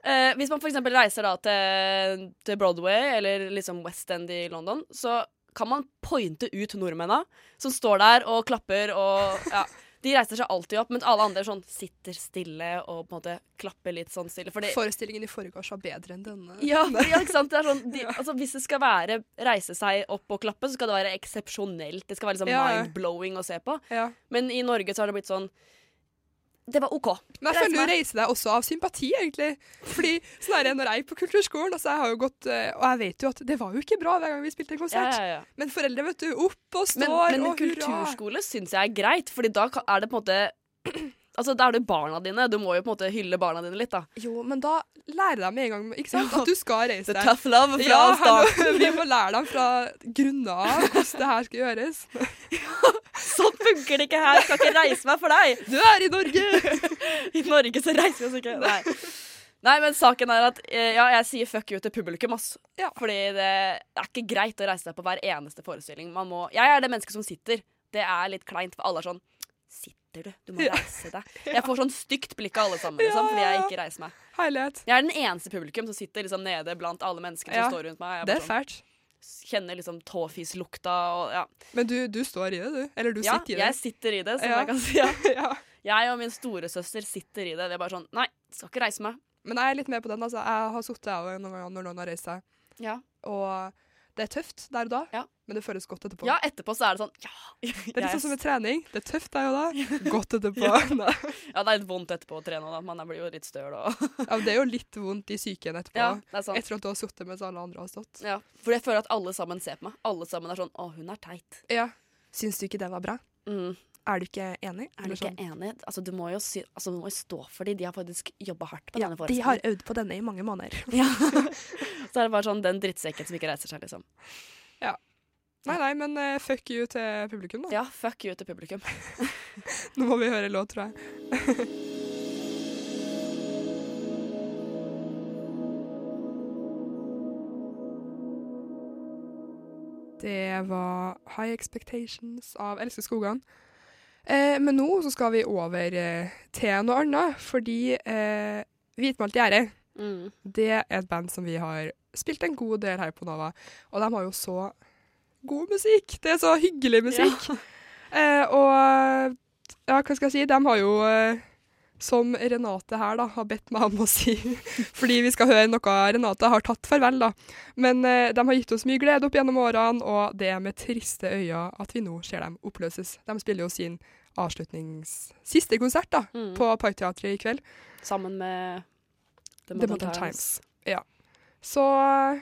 [SPEAKER 4] Eh, hvis man f.eks. reiser da til, til Broadway eller liksom West End i London, så kan man pointe ut nordmennene som står der og klapper og ja. De reiser seg alltid opp, men alle andre sånn sitter stille og på en måte klapper litt sånn stille. Fordi,
[SPEAKER 3] Forestillingen i forgårs var bedre enn denne.
[SPEAKER 4] ja, ja, ikke sant? Det er sånn, de, altså, hvis det skal være reise seg opp og klappe, så skal det være eksepsjonelt. Det skal være liksom
[SPEAKER 3] Ja, ja.
[SPEAKER 4] mind-blowing å se på.
[SPEAKER 3] Ja.
[SPEAKER 4] Men i Norge så har det blitt sånn Det var OK.
[SPEAKER 3] Men jeg
[SPEAKER 4] Reis
[SPEAKER 3] føler du
[SPEAKER 4] meg.
[SPEAKER 3] reiser deg også av sympati, egentlig. Fordi sånn er det når jeg gikk på kulturskolen, altså jeg har jo gått, eh, og jeg vet jo at det var jo ikke bra hver gang vi spilte en
[SPEAKER 4] Ja,
[SPEAKER 3] konsert.
[SPEAKER 4] ja, ja.
[SPEAKER 3] Men foreldre, vet du, opp og står
[SPEAKER 4] Men, men
[SPEAKER 3] og hurra.
[SPEAKER 4] kulturskole syns jeg er greit, Fordi da ka- er det på en måte Altså, Da er det barna dine. Du må jo på en måte hylle barna dine litt, da.
[SPEAKER 3] Jo, men da lærer de med en gang ikke sant? at du skal reise deg.
[SPEAKER 4] Tough love fra
[SPEAKER 3] Ja, hallo,
[SPEAKER 4] start.
[SPEAKER 3] vi må lære dem fra grunnen av hvordan det her skal gjøres.
[SPEAKER 4] Sånn funker det ikke her. Jeg skal ikke reise meg for deg.
[SPEAKER 3] Du er i Norge!
[SPEAKER 4] I Norge så reiser vi oss ikke. Nei. Nei, men saken er at eh, ja, jeg sier fuck you til publikum, ass.
[SPEAKER 3] Ja.
[SPEAKER 4] Fordi det er ikke greit å reise seg på hver eneste forestilling. Man må, jeg er det mennesket som sitter. Det er litt kleint, for alle er sånn Sitter du? Du må
[SPEAKER 3] Ja.
[SPEAKER 4] reise deg. Jeg får sånn stygt blikk av alle sammen, liksom,
[SPEAKER 3] Ja,
[SPEAKER 4] fordi
[SPEAKER 3] ja,
[SPEAKER 4] jeg
[SPEAKER 3] ja.
[SPEAKER 4] ikke reiser meg.
[SPEAKER 3] Herlighet.
[SPEAKER 4] Jeg er den eneste publikum som sitter liksom nede blant alle menneskene
[SPEAKER 3] Ja.
[SPEAKER 4] som står rundt meg. Jeg
[SPEAKER 3] Det er
[SPEAKER 4] bare
[SPEAKER 3] fælt.
[SPEAKER 4] sånn, kjenner liksom tåfislukta og ja.
[SPEAKER 3] Men du, du står i det, du. Eller du
[SPEAKER 4] ja
[SPEAKER 3] sitter i det.
[SPEAKER 4] jeg sitter i det, som
[SPEAKER 3] Ja.
[SPEAKER 4] jeg kan si. Ja.
[SPEAKER 3] ja.
[SPEAKER 4] Jeg og min storesøster sitter i det. Vi er bare sånn Nei, skal ikke reise meg.
[SPEAKER 3] Men jeg er litt med på den. altså. Jeg har sittet av noen ganger når noen har reist seg.
[SPEAKER 4] Ja.
[SPEAKER 3] Og det er tøft der og da,
[SPEAKER 4] Ja.
[SPEAKER 3] men det føles godt etterpå.
[SPEAKER 4] ja, etterpå så er det sånn Ja.
[SPEAKER 3] Det er litt sånn
[SPEAKER 4] jeg-
[SPEAKER 3] som med trening. Det er tøft der og da, godt etterpå. Nei.
[SPEAKER 4] ja, det er litt vondt etterpå å trene, da. Man blir jo litt støl og
[SPEAKER 3] Ja, men det er jo litt vondt i psyken etterpå.
[SPEAKER 4] Ja, det er sant.
[SPEAKER 3] Etter at du har sittet mens alle andre har stått.
[SPEAKER 4] Ja. For jeg føler at alle sammen ser på meg. Alle sammen er sånn Å, hun er teit.
[SPEAKER 3] Ja. Syns du ikke det var bra?
[SPEAKER 4] Mm.
[SPEAKER 3] Er du ikke enig?
[SPEAKER 4] Er du
[SPEAKER 3] Eller
[SPEAKER 4] ikke
[SPEAKER 3] sånn,
[SPEAKER 4] enig? Altså, du må jo, sy altså, du må jo stå for dem. De har faktisk jobba hardt på
[SPEAKER 3] Ja,
[SPEAKER 4] denne
[SPEAKER 3] de
[SPEAKER 4] forestillingen.
[SPEAKER 3] har øvd på denne i mange måneder.
[SPEAKER 4] Ja. Så er det bare sånn den drittsekken som ikke reiser seg, liksom.
[SPEAKER 3] Nei, nei, men eh, fuck you til publikum, da.
[SPEAKER 4] Ja, fuck you til publikum.
[SPEAKER 3] Nå må vi høre låt, tror jeg. Det var High Expectations av Else Skogan. Eh, men nå så skal vi over eh, til noe annet, fordi eh, Hvitmalt gjerde
[SPEAKER 4] Mm.
[SPEAKER 3] Det er et band som vi har spilt en god del her på Nova. Og de har jo så god musikk! Det er så hyggelig musikk. Eh, og ja, hva skal jeg si? De har jo, eh, som Renate her, da, har bedt meg om å si, fordi vi skal høre noe Renate har tatt farvel, da. Men eh, de har gitt oss mye glede opp gjennom årene, og det er med triste øyne at vi nå ser dem oppløses. De spiller jo sin avslutnings... siste konsert, da,
[SPEAKER 4] Mm.
[SPEAKER 3] på Parkteatret i kveld.
[SPEAKER 4] Sammen med The
[SPEAKER 3] The
[SPEAKER 4] Modern,
[SPEAKER 3] Modern
[SPEAKER 4] Times.
[SPEAKER 3] Times. Ja. Så jeg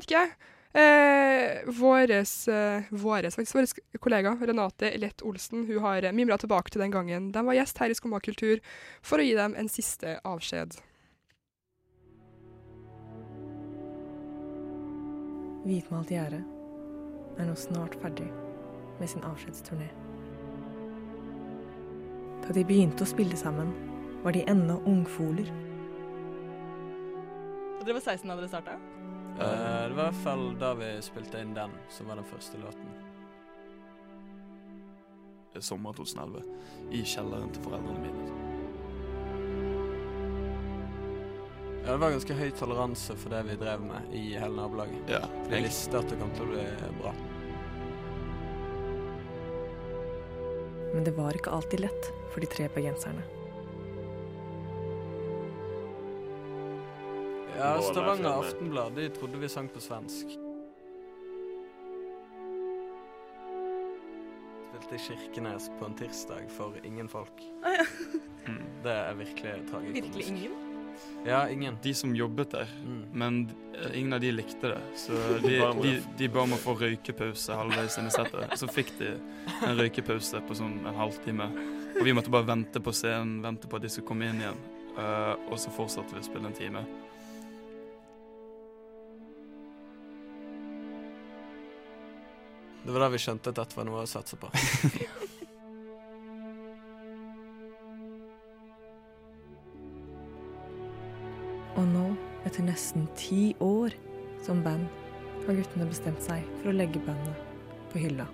[SPEAKER 3] vet ikke. Eh, våres, eh, våres, faktisk, våres kollega Renate Lett Olsen hun har mimra tilbake til den gangen de var gjest her i Skumma kultur for å gi dem en siste avskjed.
[SPEAKER 9] Hvitmalt gjerde er nå snart ferdig med sin avskjedsturné. Da de begynte å spille sammen, var de ennå ungfoler.
[SPEAKER 10] Og dere var 16 da dere starta?
[SPEAKER 11] Eh, det var i hvert fall da vi spilte inn den, som var den første låten.
[SPEAKER 7] Sommer 2011. I kjelleren til foreldrene mine.
[SPEAKER 11] Ja, det var ganske høy toleranse for det vi drev med i hele nabolaget.
[SPEAKER 7] Ja,
[SPEAKER 11] Vi visste at det kom til å bli bra.
[SPEAKER 9] Men det var ikke alltid lett for de tre bergenserne.
[SPEAKER 11] Ja,
[SPEAKER 7] Målet er
[SPEAKER 11] Stavanger
[SPEAKER 7] fremme.
[SPEAKER 11] Aftenblad de trodde vi sang på svensk. til Kirkenes på en tirsdag for ingen folk.
[SPEAKER 10] Å, ja.
[SPEAKER 11] Det er virkelig tragikomisk.
[SPEAKER 10] Virkelig ingen?
[SPEAKER 11] Ja, ingen. Mm.
[SPEAKER 7] De som jobbet der, men eh, ingen av de likte det. Så de,
[SPEAKER 11] Bare må
[SPEAKER 7] de,
[SPEAKER 11] det.
[SPEAKER 7] de ba om å få røykepause halvveis inn i settet. Så fikk de en røykepause på sånn en halvtime. Og vi måtte bare vente på scenen, vente på at de skulle komme inn igjen. Eh, og så fortsatte vi å spille en time.
[SPEAKER 11] Det var da vi skjønte at dette var noe å satse på.
[SPEAKER 9] Og nå, etter nesten ti år som band, har guttene bestemt seg for å legge bandet på hylla.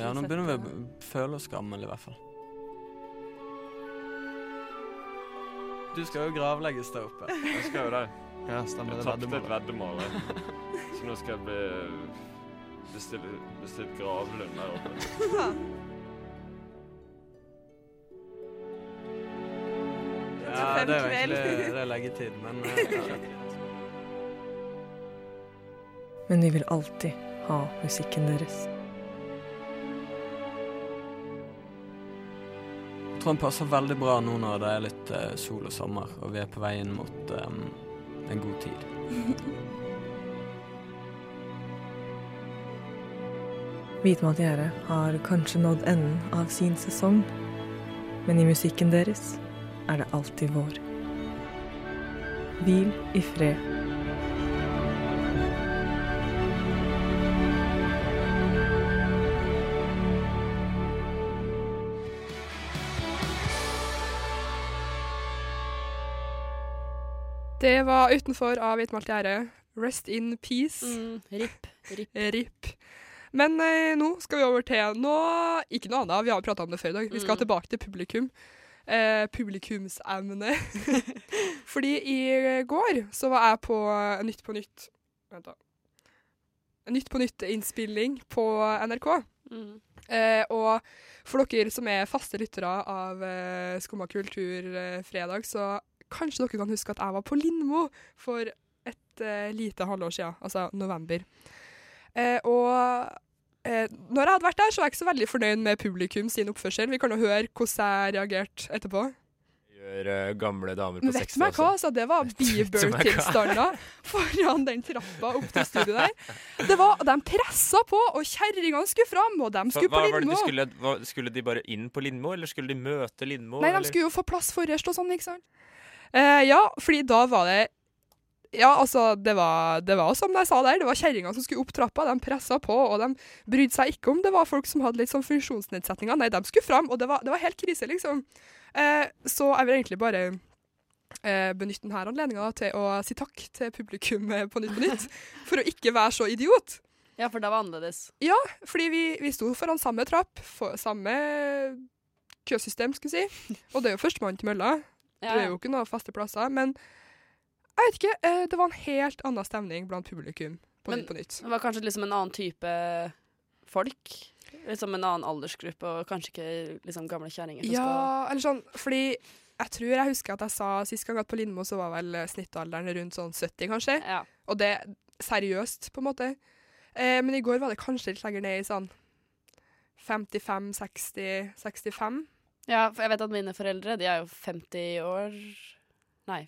[SPEAKER 11] Ja, nå begynner vi å b- føle oss gamle, i hvert fall. Du skal jo gravlegges der oppe.
[SPEAKER 12] Jeg skal jo det.
[SPEAKER 7] Ja, stemmer
[SPEAKER 12] Jeg
[SPEAKER 7] det.
[SPEAKER 12] tapte et
[SPEAKER 7] veddemål.
[SPEAKER 12] veddemål. jeg. Så nå skal jeg bli bestille, bestilt gravlund der oppe.
[SPEAKER 11] Ja, det er jo
[SPEAKER 10] kveld.
[SPEAKER 11] egentlig det er leggetid, men eh, ja.
[SPEAKER 9] Men vi vil alltid ha musikken deres.
[SPEAKER 11] Jeg tror den passer veldig bra nå når det er litt eh, sol og sommer, og vi er på vei inn mot eh, en god tid.
[SPEAKER 9] Hvitmalt gjerde har kanskje nådd enden av sin sesong, men i musikken deres er det alltid vår. Hvil i fred.
[SPEAKER 3] Det var utenfor av Hvitmalt gjerde. Rest in peace.
[SPEAKER 4] Mm, rip. Rip.
[SPEAKER 3] Men eh, nå skal vi over til noe Ikke noe annet, vi har prata om det før i dag. Vi skal tilbake til publikum. Eh, publikumsemne. Fordi i går så var jeg på Nytt på Nytt Vent, da. Nytt på Nytt-innspilling på NRK.
[SPEAKER 4] Mm.
[SPEAKER 3] Eh, og for dere som er faste lyttere av eh, Skumma kultur eh, fredag, så kanskje dere kan huske at jeg var på Lindmo for et eh, lite halvår siden, altså november. Eh, og eh, når jeg hadde vært der, så var jeg ikke så veldig fornøyd med publikum sin oppførsel. Vi kan jo høre hvordan jeg reagerte etterpå.
[SPEAKER 13] Gjør eh, gamle damer på
[SPEAKER 3] Men vet
[SPEAKER 13] 60
[SPEAKER 3] du meg hva,
[SPEAKER 13] også.
[SPEAKER 3] altså, det
[SPEAKER 13] du
[SPEAKER 3] var
[SPEAKER 13] meg hva?
[SPEAKER 3] Bieber-tilstander foran den trappa opp til studioet der. Det var, De pressa på, og kjerringene skulle fram, og de
[SPEAKER 13] Hva,
[SPEAKER 3] skulle
[SPEAKER 13] hva
[SPEAKER 3] på
[SPEAKER 13] var det
[SPEAKER 3] Lindmo.
[SPEAKER 13] de skulle, hva, skulle de bare inn på Lindmo, eller skulle de møte Lindmo?
[SPEAKER 3] Nei,
[SPEAKER 13] eller?
[SPEAKER 3] de skulle jo få plass forrest og sånn, ikke sant? Eh, ja, fordi da var det Ja, altså, det var, det var som jeg sa der, det var kjerringa som skulle opp trappa. De pressa på, og de brydde seg ikke om det var folk som hadde litt sånn funksjonsnedsetninger. Nei, de skulle fram, og det var, det var helt krise, liksom. Eh, så jeg vil egentlig bare eh, benytte denne anledninga til å si takk til publikum eh, på Nytt på Nytt, for å ikke være så idiot.
[SPEAKER 4] Ja, for det var annerledes.
[SPEAKER 3] Ja, fordi vi, vi sto foran samme trapp, for, samme køsystem, skulle jeg si. Og det er jo førstemann til mølla.
[SPEAKER 4] Ja,
[SPEAKER 3] Det
[SPEAKER 4] ja.
[SPEAKER 3] er jo ikke noen faste plasser. Men jeg vet ikke, eh, det var en helt annen stemning blant publikum på
[SPEAKER 4] Men
[SPEAKER 3] Nytt på Nytt.
[SPEAKER 4] det var kanskje liksom en annen type folk. Liksom en annen aldersgruppe, og kanskje ikke liksom gamle kjerringer som skal
[SPEAKER 3] Ja, eller sånn, fordi jeg tror jeg husker at jeg sa sist gang at på Lindmo så var vel eh, snittalderen rundt sånn 70, kanskje. Og det seriøst, på en måte. Eh, men i går var det kanskje litt lenger ned i sånn 55, 60, 65.
[SPEAKER 4] Ja, for jeg vet at mine foreldre, de er jo 50 år Nei,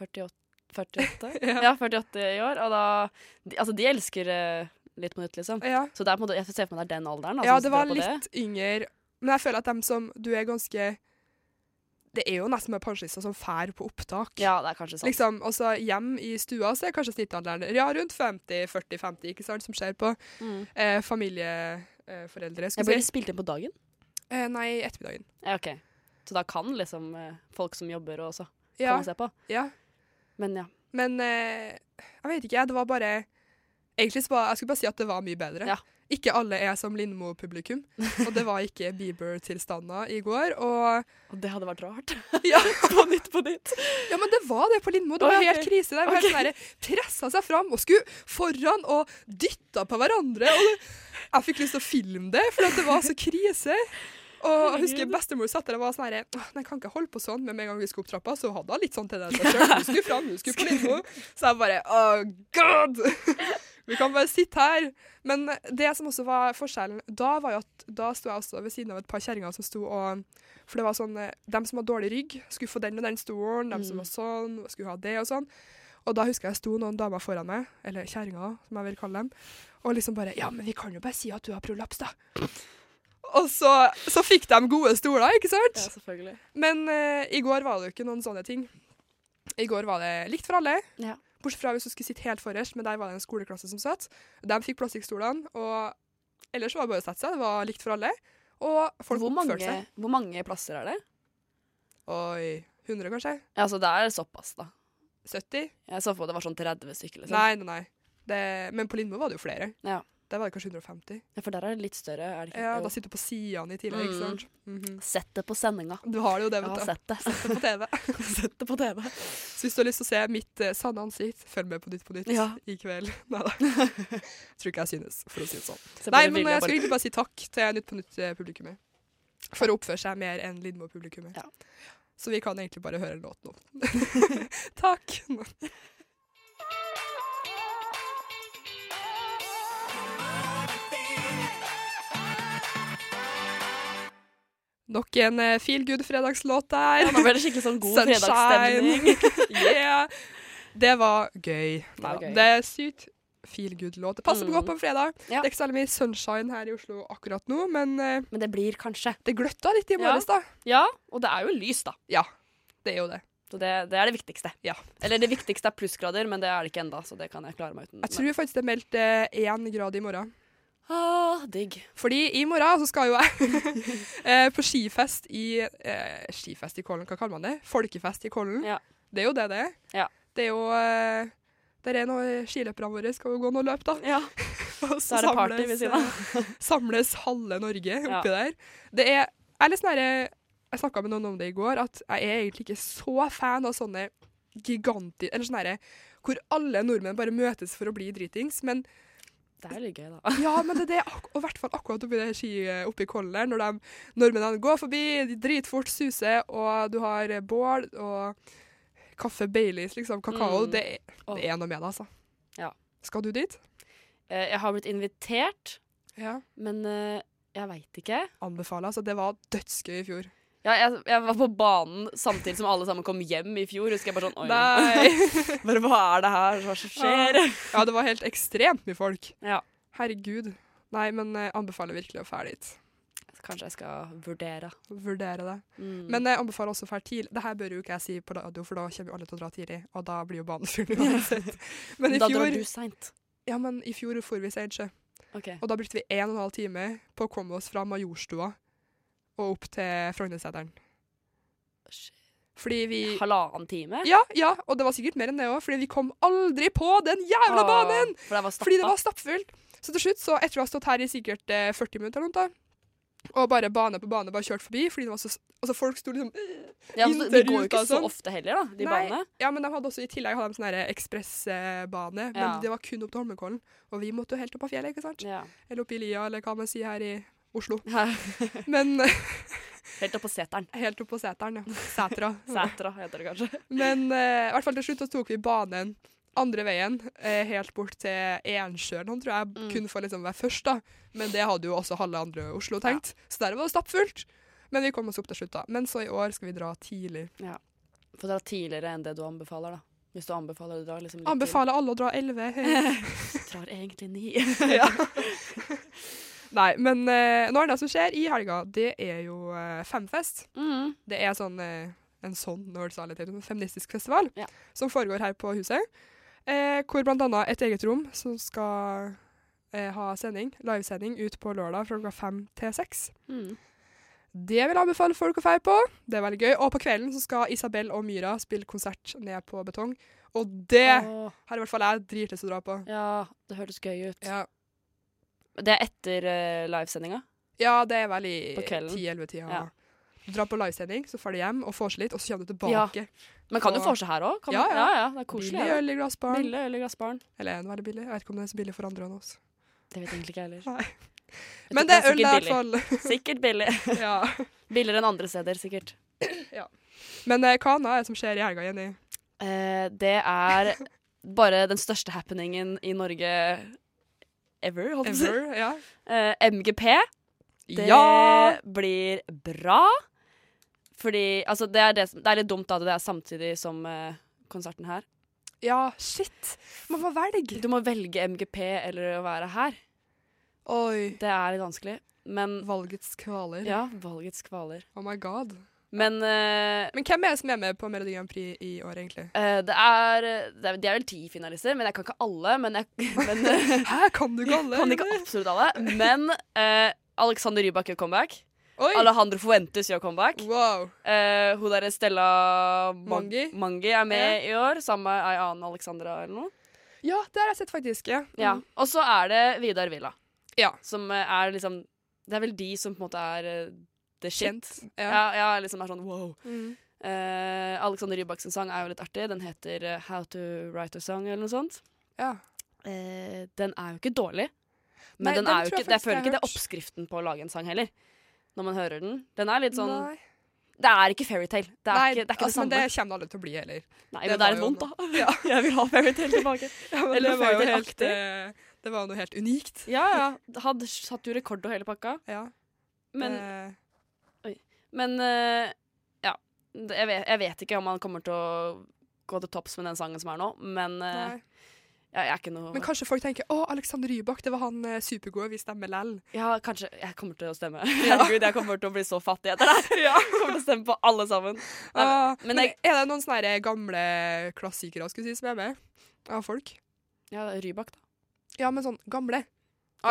[SPEAKER 4] 48 48? ja. 48 i år. Og da de, Altså, de elsker eh, Litt på nytt, liksom. Så det er på en måte, jeg ser for meg det er den alderen. da,
[SPEAKER 3] Ja,
[SPEAKER 4] som
[SPEAKER 3] det
[SPEAKER 4] drar
[SPEAKER 3] var
[SPEAKER 4] på
[SPEAKER 3] litt yngre. Men jeg føler at dem som Du er ganske Det er jo nesten bare pensjonister som fær på opptak.
[SPEAKER 4] Ja, det er kanskje sant.
[SPEAKER 3] Liksom, og så hjem i stua så er kanskje snittalderen ja, rundt 50-40-50, ikke sant, som skjer på
[SPEAKER 4] Mm.
[SPEAKER 3] eh, familieforeldre.
[SPEAKER 4] Ja,
[SPEAKER 3] skulle
[SPEAKER 4] blir det
[SPEAKER 3] jeg si.
[SPEAKER 4] spilt inn på dagen?
[SPEAKER 3] Eh, nei, ettermiddagen.
[SPEAKER 4] Ja, ok. Så da kan liksom eh, folk som jobber også
[SPEAKER 3] Ja.
[SPEAKER 4] komme og se på?
[SPEAKER 3] Ja.
[SPEAKER 4] Men ja.
[SPEAKER 3] Men eh, jeg vet ikke, jeg. Det var bare Egentlig så var, jeg skulle bare si at det var mye bedre. Ikke alle er som Lindmo-publikum, og det var ikke Bieber-tilstander i går. Og,
[SPEAKER 4] det hadde vært rart.
[SPEAKER 3] Ja.
[SPEAKER 4] på nytt på nytt.
[SPEAKER 3] Ja, men det var det på Lindmo. Det
[SPEAKER 4] Å,
[SPEAKER 3] var
[SPEAKER 4] ja,
[SPEAKER 3] helt
[SPEAKER 4] ok.
[SPEAKER 3] krise der. Okay.
[SPEAKER 4] Ok.
[SPEAKER 3] Helt Pressa seg fram og skulle foran og dytta på hverandre. Og det, jeg fikk lyst til å filme det, for at det var så krise. Og jeg husker
[SPEAKER 4] Herregud.
[SPEAKER 3] Bestemor satt der og var sånn her «Åh, Nei, kan ikke holde på sånn, men med en gang vi skulle opp trappa, så hadde hun litt sånn til det. Så jeg skulle fram, hun skulle på Lindmo. Så jeg bare Oh God! Vi kan bare sitte her. Men det som også var forskjellen da, var jo at da sto jeg også ved siden av et par kjerringer som sto og For det var sånn eh, Dem som hadde dårlig rygg, skulle få den og den stolen. Dem som
[SPEAKER 10] Mm.
[SPEAKER 3] var sånn, skulle ha det og sånn. Og da husker jeg sto noen damer foran meg, eller kjerringer, som jeg vil kalle dem, og liksom bare Ja, men vi kan jo bare si at du har prolaps, da. Og så, så fikk de gode stoler, ikke sant?
[SPEAKER 4] Ja, selvfølgelig.
[SPEAKER 3] Men eh, i går var det jo ikke noen sånne ting. I går var det likt for alle. Bortsett fra hvis du skulle sitte helt forrest, men der var det en skoleklasse som satt. De fikk plastikkstolene, og ellers var det bare å sette seg. Det var likt for alle. Og folk
[SPEAKER 4] Hvor mange,
[SPEAKER 3] oppførte seg.
[SPEAKER 4] hvor mange plasser er det?
[SPEAKER 3] Oi 100, kanskje?
[SPEAKER 4] Ja, så det er såpass, da.
[SPEAKER 3] 70?
[SPEAKER 4] Jeg så for meg det var sånn 30 stykker. Liksom.
[SPEAKER 3] Nei, nei, nei. Det, men på Lindmo var det jo flere.
[SPEAKER 4] Ja.
[SPEAKER 3] Der var det kanskje 150.
[SPEAKER 4] Ja, for der er det litt større, er det ikke?
[SPEAKER 3] Ja,
[SPEAKER 4] Jo.
[SPEAKER 3] da sitter du på sidene i tillegg, ikke sant? Mhm.
[SPEAKER 4] Sett det på sendinga.
[SPEAKER 3] Du har det jo det, vet
[SPEAKER 4] Ja, altså.
[SPEAKER 3] du.
[SPEAKER 4] sett det.
[SPEAKER 3] Sett det på TV.
[SPEAKER 4] sett det på TV.
[SPEAKER 3] Så hvis du har lyst til å se mitt eh, sanne ansikt, følg med på Nytt på Nytt
[SPEAKER 4] Ja.
[SPEAKER 3] i kveld. Nei da. Tror ikke jeg synes, for å si det sånn.
[SPEAKER 4] Så
[SPEAKER 3] Nei,
[SPEAKER 4] bare
[SPEAKER 3] men jeg
[SPEAKER 4] vil jeg bare-
[SPEAKER 3] skulle egentlig bare si takk til Nytt på Nytt-publikummet. For å oppføre seg mer enn Lindmo-publikummet. Så vi kan egentlig bare høre en låt nå. takk. Nok en eh, feel good fredagslåt der.
[SPEAKER 4] Ja, nå ble det skikkelig sånn god
[SPEAKER 3] Sunshine.
[SPEAKER 4] fredagsstemning.
[SPEAKER 3] yeah. Det var gøy.
[SPEAKER 4] Det var gøy.
[SPEAKER 3] Det er sykt feel good-låt. Det passer
[SPEAKER 4] Mm.
[SPEAKER 3] godt på en fredag. Det er ikke særlig mye sunshine her i Oslo akkurat nå, men eh,
[SPEAKER 4] Men det blir kanskje.
[SPEAKER 3] Det gløtta litt i
[SPEAKER 4] Ja.
[SPEAKER 3] morges, da.
[SPEAKER 4] Ja, og det er jo lys, da.
[SPEAKER 3] Ja, det er jo det.
[SPEAKER 4] Så det, det er det viktigste.
[SPEAKER 3] Ja.
[SPEAKER 4] Eller det viktigste er plussgrader, men det er det ikke enda, så det kan jeg klare meg uten.
[SPEAKER 3] Jeg tror faktisk det er meldt eh, én grad i morgen.
[SPEAKER 4] Ah, digg.
[SPEAKER 3] Fordi i morgen så skal jo jeg eh, på skifest i eh, Skifest i Kollen, hva kaller man det? Folkefest i Kollen. Det er jo det det er. Det er jo eh, Der er noe skiløperne våre skal jo gå noe løp, da. Og eh,
[SPEAKER 4] Da er det party ved siden av.
[SPEAKER 3] samles halve Norge
[SPEAKER 4] Ja.
[SPEAKER 3] oppi der. Det er Jeg er litt sånn herre Jeg snakka med noen om det i går, at jeg er egentlig ikke så fan av sånne giganti... Eller sånn herre hvor alle nordmenn bare møtes for å bli dritings, men
[SPEAKER 4] Det er litt gøy, da.
[SPEAKER 3] ja, men det er det, ak- og i hvert fall akkurat oppi det ski eh, oppi kollen der, når de, nordmennene går forbi, de dritfort suser, og du har eh, bål og kaffe, Baileys, liksom, kakao.
[SPEAKER 4] Mm.
[SPEAKER 3] Det, er- det er noe med det, altså.
[SPEAKER 4] Ja.
[SPEAKER 3] Skal du dit?
[SPEAKER 4] Eh, Jeg har blitt invitert,
[SPEAKER 3] Ja.
[SPEAKER 4] men eh, jeg veit ikke.
[SPEAKER 3] Anbefaler, altså. Det var dødsgøy i fjor.
[SPEAKER 4] Ja, jeg, jeg var på banen samtidig som alle sammen kom hjem i fjor. Husker jeg bare sånn Oi.
[SPEAKER 3] Nei.
[SPEAKER 4] bare hva er det her? Hva er det som skjer?
[SPEAKER 3] Ja, det var helt ekstremt mye folk.
[SPEAKER 4] Ja.
[SPEAKER 3] Herregud. Nei, men eh, anbefaler virkelig å fære dit.
[SPEAKER 4] Kanskje jeg skal vurdere.
[SPEAKER 3] Vurdere det.
[SPEAKER 4] Mm.
[SPEAKER 3] Men eh, jeg anbefaler også å fære tidlig. Dette bør jo ikke jeg si på radio, for da kommer jo alle til å dra tidlig, og da blir jo banen full uansett. Men i
[SPEAKER 4] Da
[SPEAKER 3] fjor
[SPEAKER 4] drar du seint.
[SPEAKER 3] Ja, men i fjor for vi sent, sjø.
[SPEAKER 4] Ok.
[SPEAKER 3] Og da brukte vi en og en halv time på å komme oss fra Majorstua og opp til Frognerseteren. Fordi vi
[SPEAKER 4] Halvannen time?
[SPEAKER 3] Ja, ja, og det var sikkert mer enn det òg, fordi vi kom aldri på den jævla
[SPEAKER 4] Åh,
[SPEAKER 3] banen!
[SPEAKER 4] for det var stappa.
[SPEAKER 3] fordi det var stappfullt. Så til slutt, så etter å ha stått her i sikkert eh, 40 minutter eller noe, da, og bare bane på bane bare kjørt forbi fordi det var så s- Altså, folk sto liksom
[SPEAKER 4] Ja, så
[SPEAKER 3] inntil
[SPEAKER 4] de går jo
[SPEAKER 3] ruta
[SPEAKER 4] ikke
[SPEAKER 3] og
[SPEAKER 4] så
[SPEAKER 3] sånn.
[SPEAKER 4] ofte heller, da, de
[SPEAKER 3] Nei,
[SPEAKER 4] banene.
[SPEAKER 3] Ja, men de hadde også i tillegg hadde de sånn her ekspressbane, men
[SPEAKER 4] Ja.
[SPEAKER 3] det var kun opp til Holmenkollen. Og vi måtte jo helt opp av fjellet, ikke sant? Eller opp i lia, eller hva man sier her i Oslo. men Helt
[SPEAKER 4] opp på seteren.
[SPEAKER 3] Helt opp på seteren, ja. Setra.
[SPEAKER 4] Sætra heter det kanskje.
[SPEAKER 3] Men eh, i hvert fall til slutt så tok vi banen andre veien, eh, helt bort til Ensjøen. Han tror jeg kun får liksom være først, da. Men det hadde jo også halve andre Oslo tenkt. Så der var det stappfullt. Men vi kom oss opp til slutt, da. Men så i år skal vi dra tidlig.
[SPEAKER 4] Ja. Få dra tidligere enn det du anbefaler, da. Hvis du anbefaler å dra liksom litt
[SPEAKER 3] Anbefaler alle å dra 11.
[SPEAKER 4] tidlig. Drar egentlig ni.
[SPEAKER 3] ja. Nei, men eh, nå er det som skjer i helga. Det er jo eh, femfest.
[SPEAKER 4] Mm.
[SPEAKER 3] Det er sånn eh, en sånn nerdsaliter, en feministisk festival, som foregår her på huset. Eh, hvor blant annet et eget rom som skal eh, ha sending, livesending ut på lørdag fra klokka fem til seks.
[SPEAKER 4] Mm.
[SPEAKER 3] Det vil jeg anbefale folk å feire på. Det er veldig gøy. Og på kvelden så skal Isabel og Myra spille konsert ned på betong. Og det
[SPEAKER 4] Åh.
[SPEAKER 3] har i hvert fall jeg dritlyst til å dra på.
[SPEAKER 4] Ja, det hørtes gøy ut.
[SPEAKER 3] Ja.
[SPEAKER 4] Det er etter uh, livesendinga?
[SPEAKER 3] Ja, det er vel i
[SPEAKER 4] På kvelden.
[SPEAKER 3] 10-11-tida.
[SPEAKER 4] Ja.
[SPEAKER 3] Du drar på livesending, så drar du hjem og får seg litt, og så kommer du
[SPEAKER 4] Ja.
[SPEAKER 3] tilbake.
[SPEAKER 4] Men kan du
[SPEAKER 3] Og-
[SPEAKER 4] få seg her òg?
[SPEAKER 3] Ja, ja.
[SPEAKER 4] ja, ja. Det er koselig.
[SPEAKER 3] Billig
[SPEAKER 4] ja.
[SPEAKER 3] øl i glassbaren.
[SPEAKER 4] Billig øl i glassbaren.
[SPEAKER 3] Eller er det veldig billig? Jeg vet ikke om det er så billig for andre enn oss.
[SPEAKER 4] Det vet egentlig ikke jeg heller. Jeg
[SPEAKER 3] Men
[SPEAKER 4] tror
[SPEAKER 3] det
[SPEAKER 4] ikke
[SPEAKER 3] er øl i hvert
[SPEAKER 4] sikkert
[SPEAKER 3] fall.
[SPEAKER 4] billig. Sikkert billig.
[SPEAKER 3] ja.
[SPEAKER 4] Billigere enn andre steder, sikkert.
[SPEAKER 3] Men eh, hva annet er det som skjer i helga, Jenny?
[SPEAKER 4] Eh, det er bare den største happeningen i Norge ever, holdt jeg på å si.
[SPEAKER 3] Ever, ja.
[SPEAKER 4] Eh, MGP. Det
[SPEAKER 3] Ja!
[SPEAKER 4] blir bra. Fordi Altså, det er, det, som, det er litt dumt da at det er samtidig som eh, konserten her.
[SPEAKER 3] Ja, shit. Man får velge.
[SPEAKER 4] Du må velge MGP eller å være her.
[SPEAKER 3] Oi.
[SPEAKER 4] Det er litt vanskelig, men
[SPEAKER 3] Valgets kvaler.
[SPEAKER 4] Ja, valgets kvaler.
[SPEAKER 3] Oh my god.
[SPEAKER 4] Men,
[SPEAKER 3] men hvem er det som er med på Melodi Grand Prix i år, egentlig?
[SPEAKER 4] Eh, det, er, det er De er vel ti finalister, men jeg kan ikke alle. Men jeg, men, eh,
[SPEAKER 3] Hæ, kan du ikke alle?
[SPEAKER 4] Kan ikke absolutt alle. Men eh, Alexander Rybak gjør comeback.
[SPEAKER 3] Oi.
[SPEAKER 4] Alejandro Fuentes gjør comeback. Eh, hun derre Stella Mang-
[SPEAKER 3] Mangi.
[SPEAKER 4] Mangi er med i år, sammen med ei annen Alexandra eller noe.
[SPEAKER 3] Ja, det har jeg sett, faktisk. Ja.
[SPEAKER 4] Ja.
[SPEAKER 3] Mm.
[SPEAKER 4] Og så er det Vidar Villa.
[SPEAKER 3] Ja.
[SPEAKER 4] Som eh, er liksom Det er vel de som på en måte er eh, the shit.
[SPEAKER 3] ja.
[SPEAKER 4] Ja, ja, liksom er sånn wow.
[SPEAKER 3] Mm.
[SPEAKER 4] Eh, Alexander Rybak sin sang er jo litt artig. Den heter eh, How to Write a Song eller noe sånt. Eh, den er jo ikke dårlig. Men
[SPEAKER 3] Nei,
[SPEAKER 4] den
[SPEAKER 3] den
[SPEAKER 4] er jo
[SPEAKER 3] tror jeg
[SPEAKER 4] ikke, jeg
[SPEAKER 3] faktisk jeg
[SPEAKER 4] føler
[SPEAKER 3] har
[SPEAKER 4] ikke det er
[SPEAKER 3] hørt.
[SPEAKER 4] oppskriften på å lage en sang heller. Når man hører den. Den er litt sånn
[SPEAKER 3] Nei.
[SPEAKER 4] Det er ikke fairytale. Det er
[SPEAKER 3] Nei,
[SPEAKER 4] ikke det, er ikke
[SPEAKER 3] altså, men
[SPEAKER 4] det
[SPEAKER 3] det
[SPEAKER 4] samme.
[SPEAKER 3] kommer det aldri til å bli heller.
[SPEAKER 4] Nei, men det er litt vondt, da.
[SPEAKER 3] Ja.
[SPEAKER 4] Jeg vil ha fairytale tilbake.
[SPEAKER 3] ja, men
[SPEAKER 4] Eller
[SPEAKER 3] det var jo helt,
[SPEAKER 4] fairytale-aktig.
[SPEAKER 3] eh, det var jo noe helt unikt.
[SPEAKER 4] Ja, ja. Hadde satt jo rekord og hele pakka. Men,
[SPEAKER 3] Eh.
[SPEAKER 4] oi. men eh, ja. Det- Jeg vet, jeg vet ikke om han kommer til å gå til topps med den sangen som er nå, men eh,
[SPEAKER 3] Nei.
[SPEAKER 4] ja, jeg er ikke noe
[SPEAKER 3] Men kanskje folk tenker å, Alexander Rybak, det var han eh, supergode, vi stemmer lell.
[SPEAKER 4] Ja, kanskje. Jeg kommer til å stemme. Herregud, jeg kommer til å bli så fattig etter det her. Jeg kommer til å stemme på alle sammen. Nei,
[SPEAKER 3] Ah,
[SPEAKER 4] men
[SPEAKER 3] men
[SPEAKER 4] jeg,
[SPEAKER 3] er det noen sånne her eh, gamle klassikere skulle jeg si, som er med? Av folk?
[SPEAKER 4] Ja, Rybak, da.
[SPEAKER 3] Ja, men sånn gamle.
[SPEAKER 4] Å,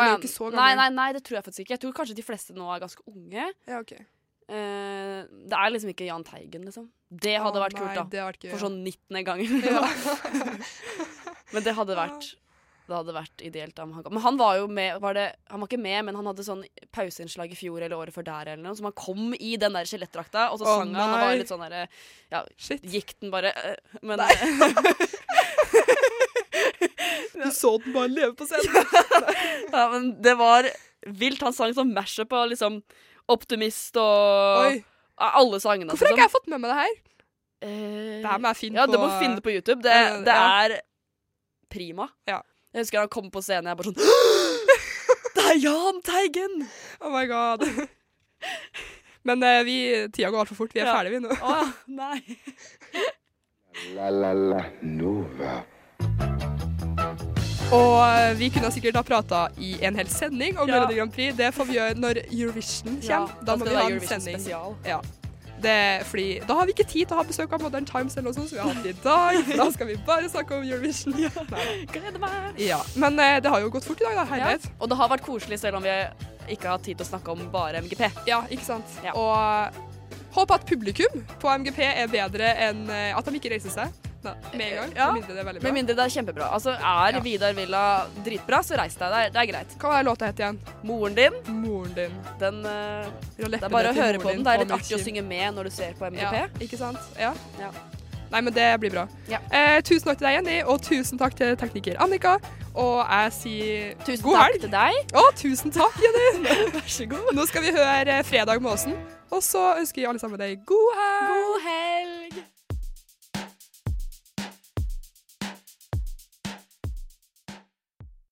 [SPEAKER 3] Han er
[SPEAKER 4] Ah, ja.
[SPEAKER 3] jo ikke så gammel.
[SPEAKER 4] Nei, nei, nei, det tror jeg faktisk ikke. Jeg tror kanskje de fleste nå er ganske unge.
[SPEAKER 3] Ja, ok.
[SPEAKER 4] Eh, det er liksom ikke Jahn Teigen, liksom. Det hadde
[SPEAKER 3] Å,
[SPEAKER 4] vært kult,
[SPEAKER 3] nei,
[SPEAKER 4] da.
[SPEAKER 3] det hadde vært gøy,
[SPEAKER 4] For
[SPEAKER 3] ja.
[SPEAKER 4] sånn 19. gangen. men det hadde vært Det hadde vært ideelt. Da. om han kom. Men han var jo med var det, Han var ikke med, men han hadde sånn pauseinnslag i fjor eller året før der, eller noe, så han kom i den der skjelettdrakta, og så
[SPEAKER 3] Å,
[SPEAKER 4] sang han og var
[SPEAKER 3] nei.
[SPEAKER 4] litt sånn derre Ja, gikk den bare eh, Men sånn-
[SPEAKER 3] Du så den bare leve på scenen.
[SPEAKER 4] ja, men det var vilt. Han sang sånn mashup av liksom Optimist og
[SPEAKER 3] Oi.
[SPEAKER 4] av alle sangene.
[SPEAKER 3] Hvorfor har ikke
[SPEAKER 4] liksom.
[SPEAKER 3] jeg fått med meg det her?
[SPEAKER 4] Eh,
[SPEAKER 3] Det her må jeg finne
[SPEAKER 4] ja,
[SPEAKER 3] på
[SPEAKER 4] det må du finne på YouTube. Det,
[SPEAKER 3] Ja,
[SPEAKER 4] det
[SPEAKER 3] ja.
[SPEAKER 4] er prima. Jeg husker han kom på scenen, jeg bare sånn Det er Jahn Teigen!
[SPEAKER 3] Oh my god. Men eh, vi, tida går altfor fort. Vi er
[SPEAKER 4] Ja.
[SPEAKER 3] ferdige, vi nå.
[SPEAKER 4] Å, nei.
[SPEAKER 2] La la la Nova.
[SPEAKER 3] Og eh, vi kunne sikkert ha prata i en hel sending om
[SPEAKER 4] Ja.
[SPEAKER 3] Melodi Grand Prix. Det får vi gjøre når Eurovision kommer.
[SPEAKER 4] Ja, da
[SPEAKER 3] da
[SPEAKER 4] skal
[SPEAKER 3] må
[SPEAKER 4] det
[SPEAKER 3] vi
[SPEAKER 4] være
[SPEAKER 3] ha en
[SPEAKER 4] Eurovision
[SPEAKER 3] sending.
[SPEAKER 4] spesial.
[SPEAKER 3] Ja. Det, fordi da har vi ikke tid til å ha besøk av Modern Times eller noe sånt som vi har hatt i dag. for Da skal vi bare snakke om Eurovision. Nei.
[SPEAKER 4] Gleder meg.
[SPEAKER 3] Ja. Men eh, det har jo gått fort i dag, da.
[SPEAKER 4] Ja.
[SPEAKER 3] Herlighet.
[SPEAKER 4] Og det har vært koselig, selv om vi ikke har hatt tid til å snakke om bare MGP.
[SPEAKER 3] Ja, ikke sant. Og håper at publikum på MGP er bedre enn eh, at de ikke reiser seg Nei, med en gang.
[SPEAKER 4] Ja.
[SPEAKER 3] Med mindre det er veldig bra.
[SPEAKER 4] Med mindre det er kjempebra. Altså, Er Vidar Villa dritbra, så reis deg. Det er, det er greit.
[SPEAKER 3] Hva er låta het igjen?
[SPEAKER 4] Moren din.
[SPEAKER 3] Moren din.
[SPEAKER 4] Den, eh, det
[SPEAKER 3] leppene
[SPEAKER 4] er bare å
[SPEAKER 3] til
[SPEAKER 4] høre
[SPEAKER 3] moren
[SPEAKER 4] på den.
[SPEAKER 3] din
[SPEAKER 4] Det er
[SPEAKER 3] på
[SPEAKER 4] litt artig å
[SPEAKER 3] milkshake.
[SPEAKER 4] synge med når du ser på MGP.
[SPEAKER 3] Ja, ikke sant? Ja.
[SPEAKER 4] Ja.
[SPEAKER 3] Nei, men det blir bra.
[SPEAKER 4] Ja.
[SPEAKER 3] Eh, tusen takk til deg, Jenny, og tusen takk til tekniker Annika. Og jeg sier
[SPEAKER 4] tusen
[SPEAKER 3] god
[SPEAKER 4] takk
[SPEAKER 3] helg.
[SPEAKER 4] til deg.
[SPEAKER 3] Å, tusen takk, Jenny. Vær så god. Nå skal vi høre Fredag med Åsen. Og så ønsker vi alle sammen deg god helg.
[SPEAKER 4] God helg.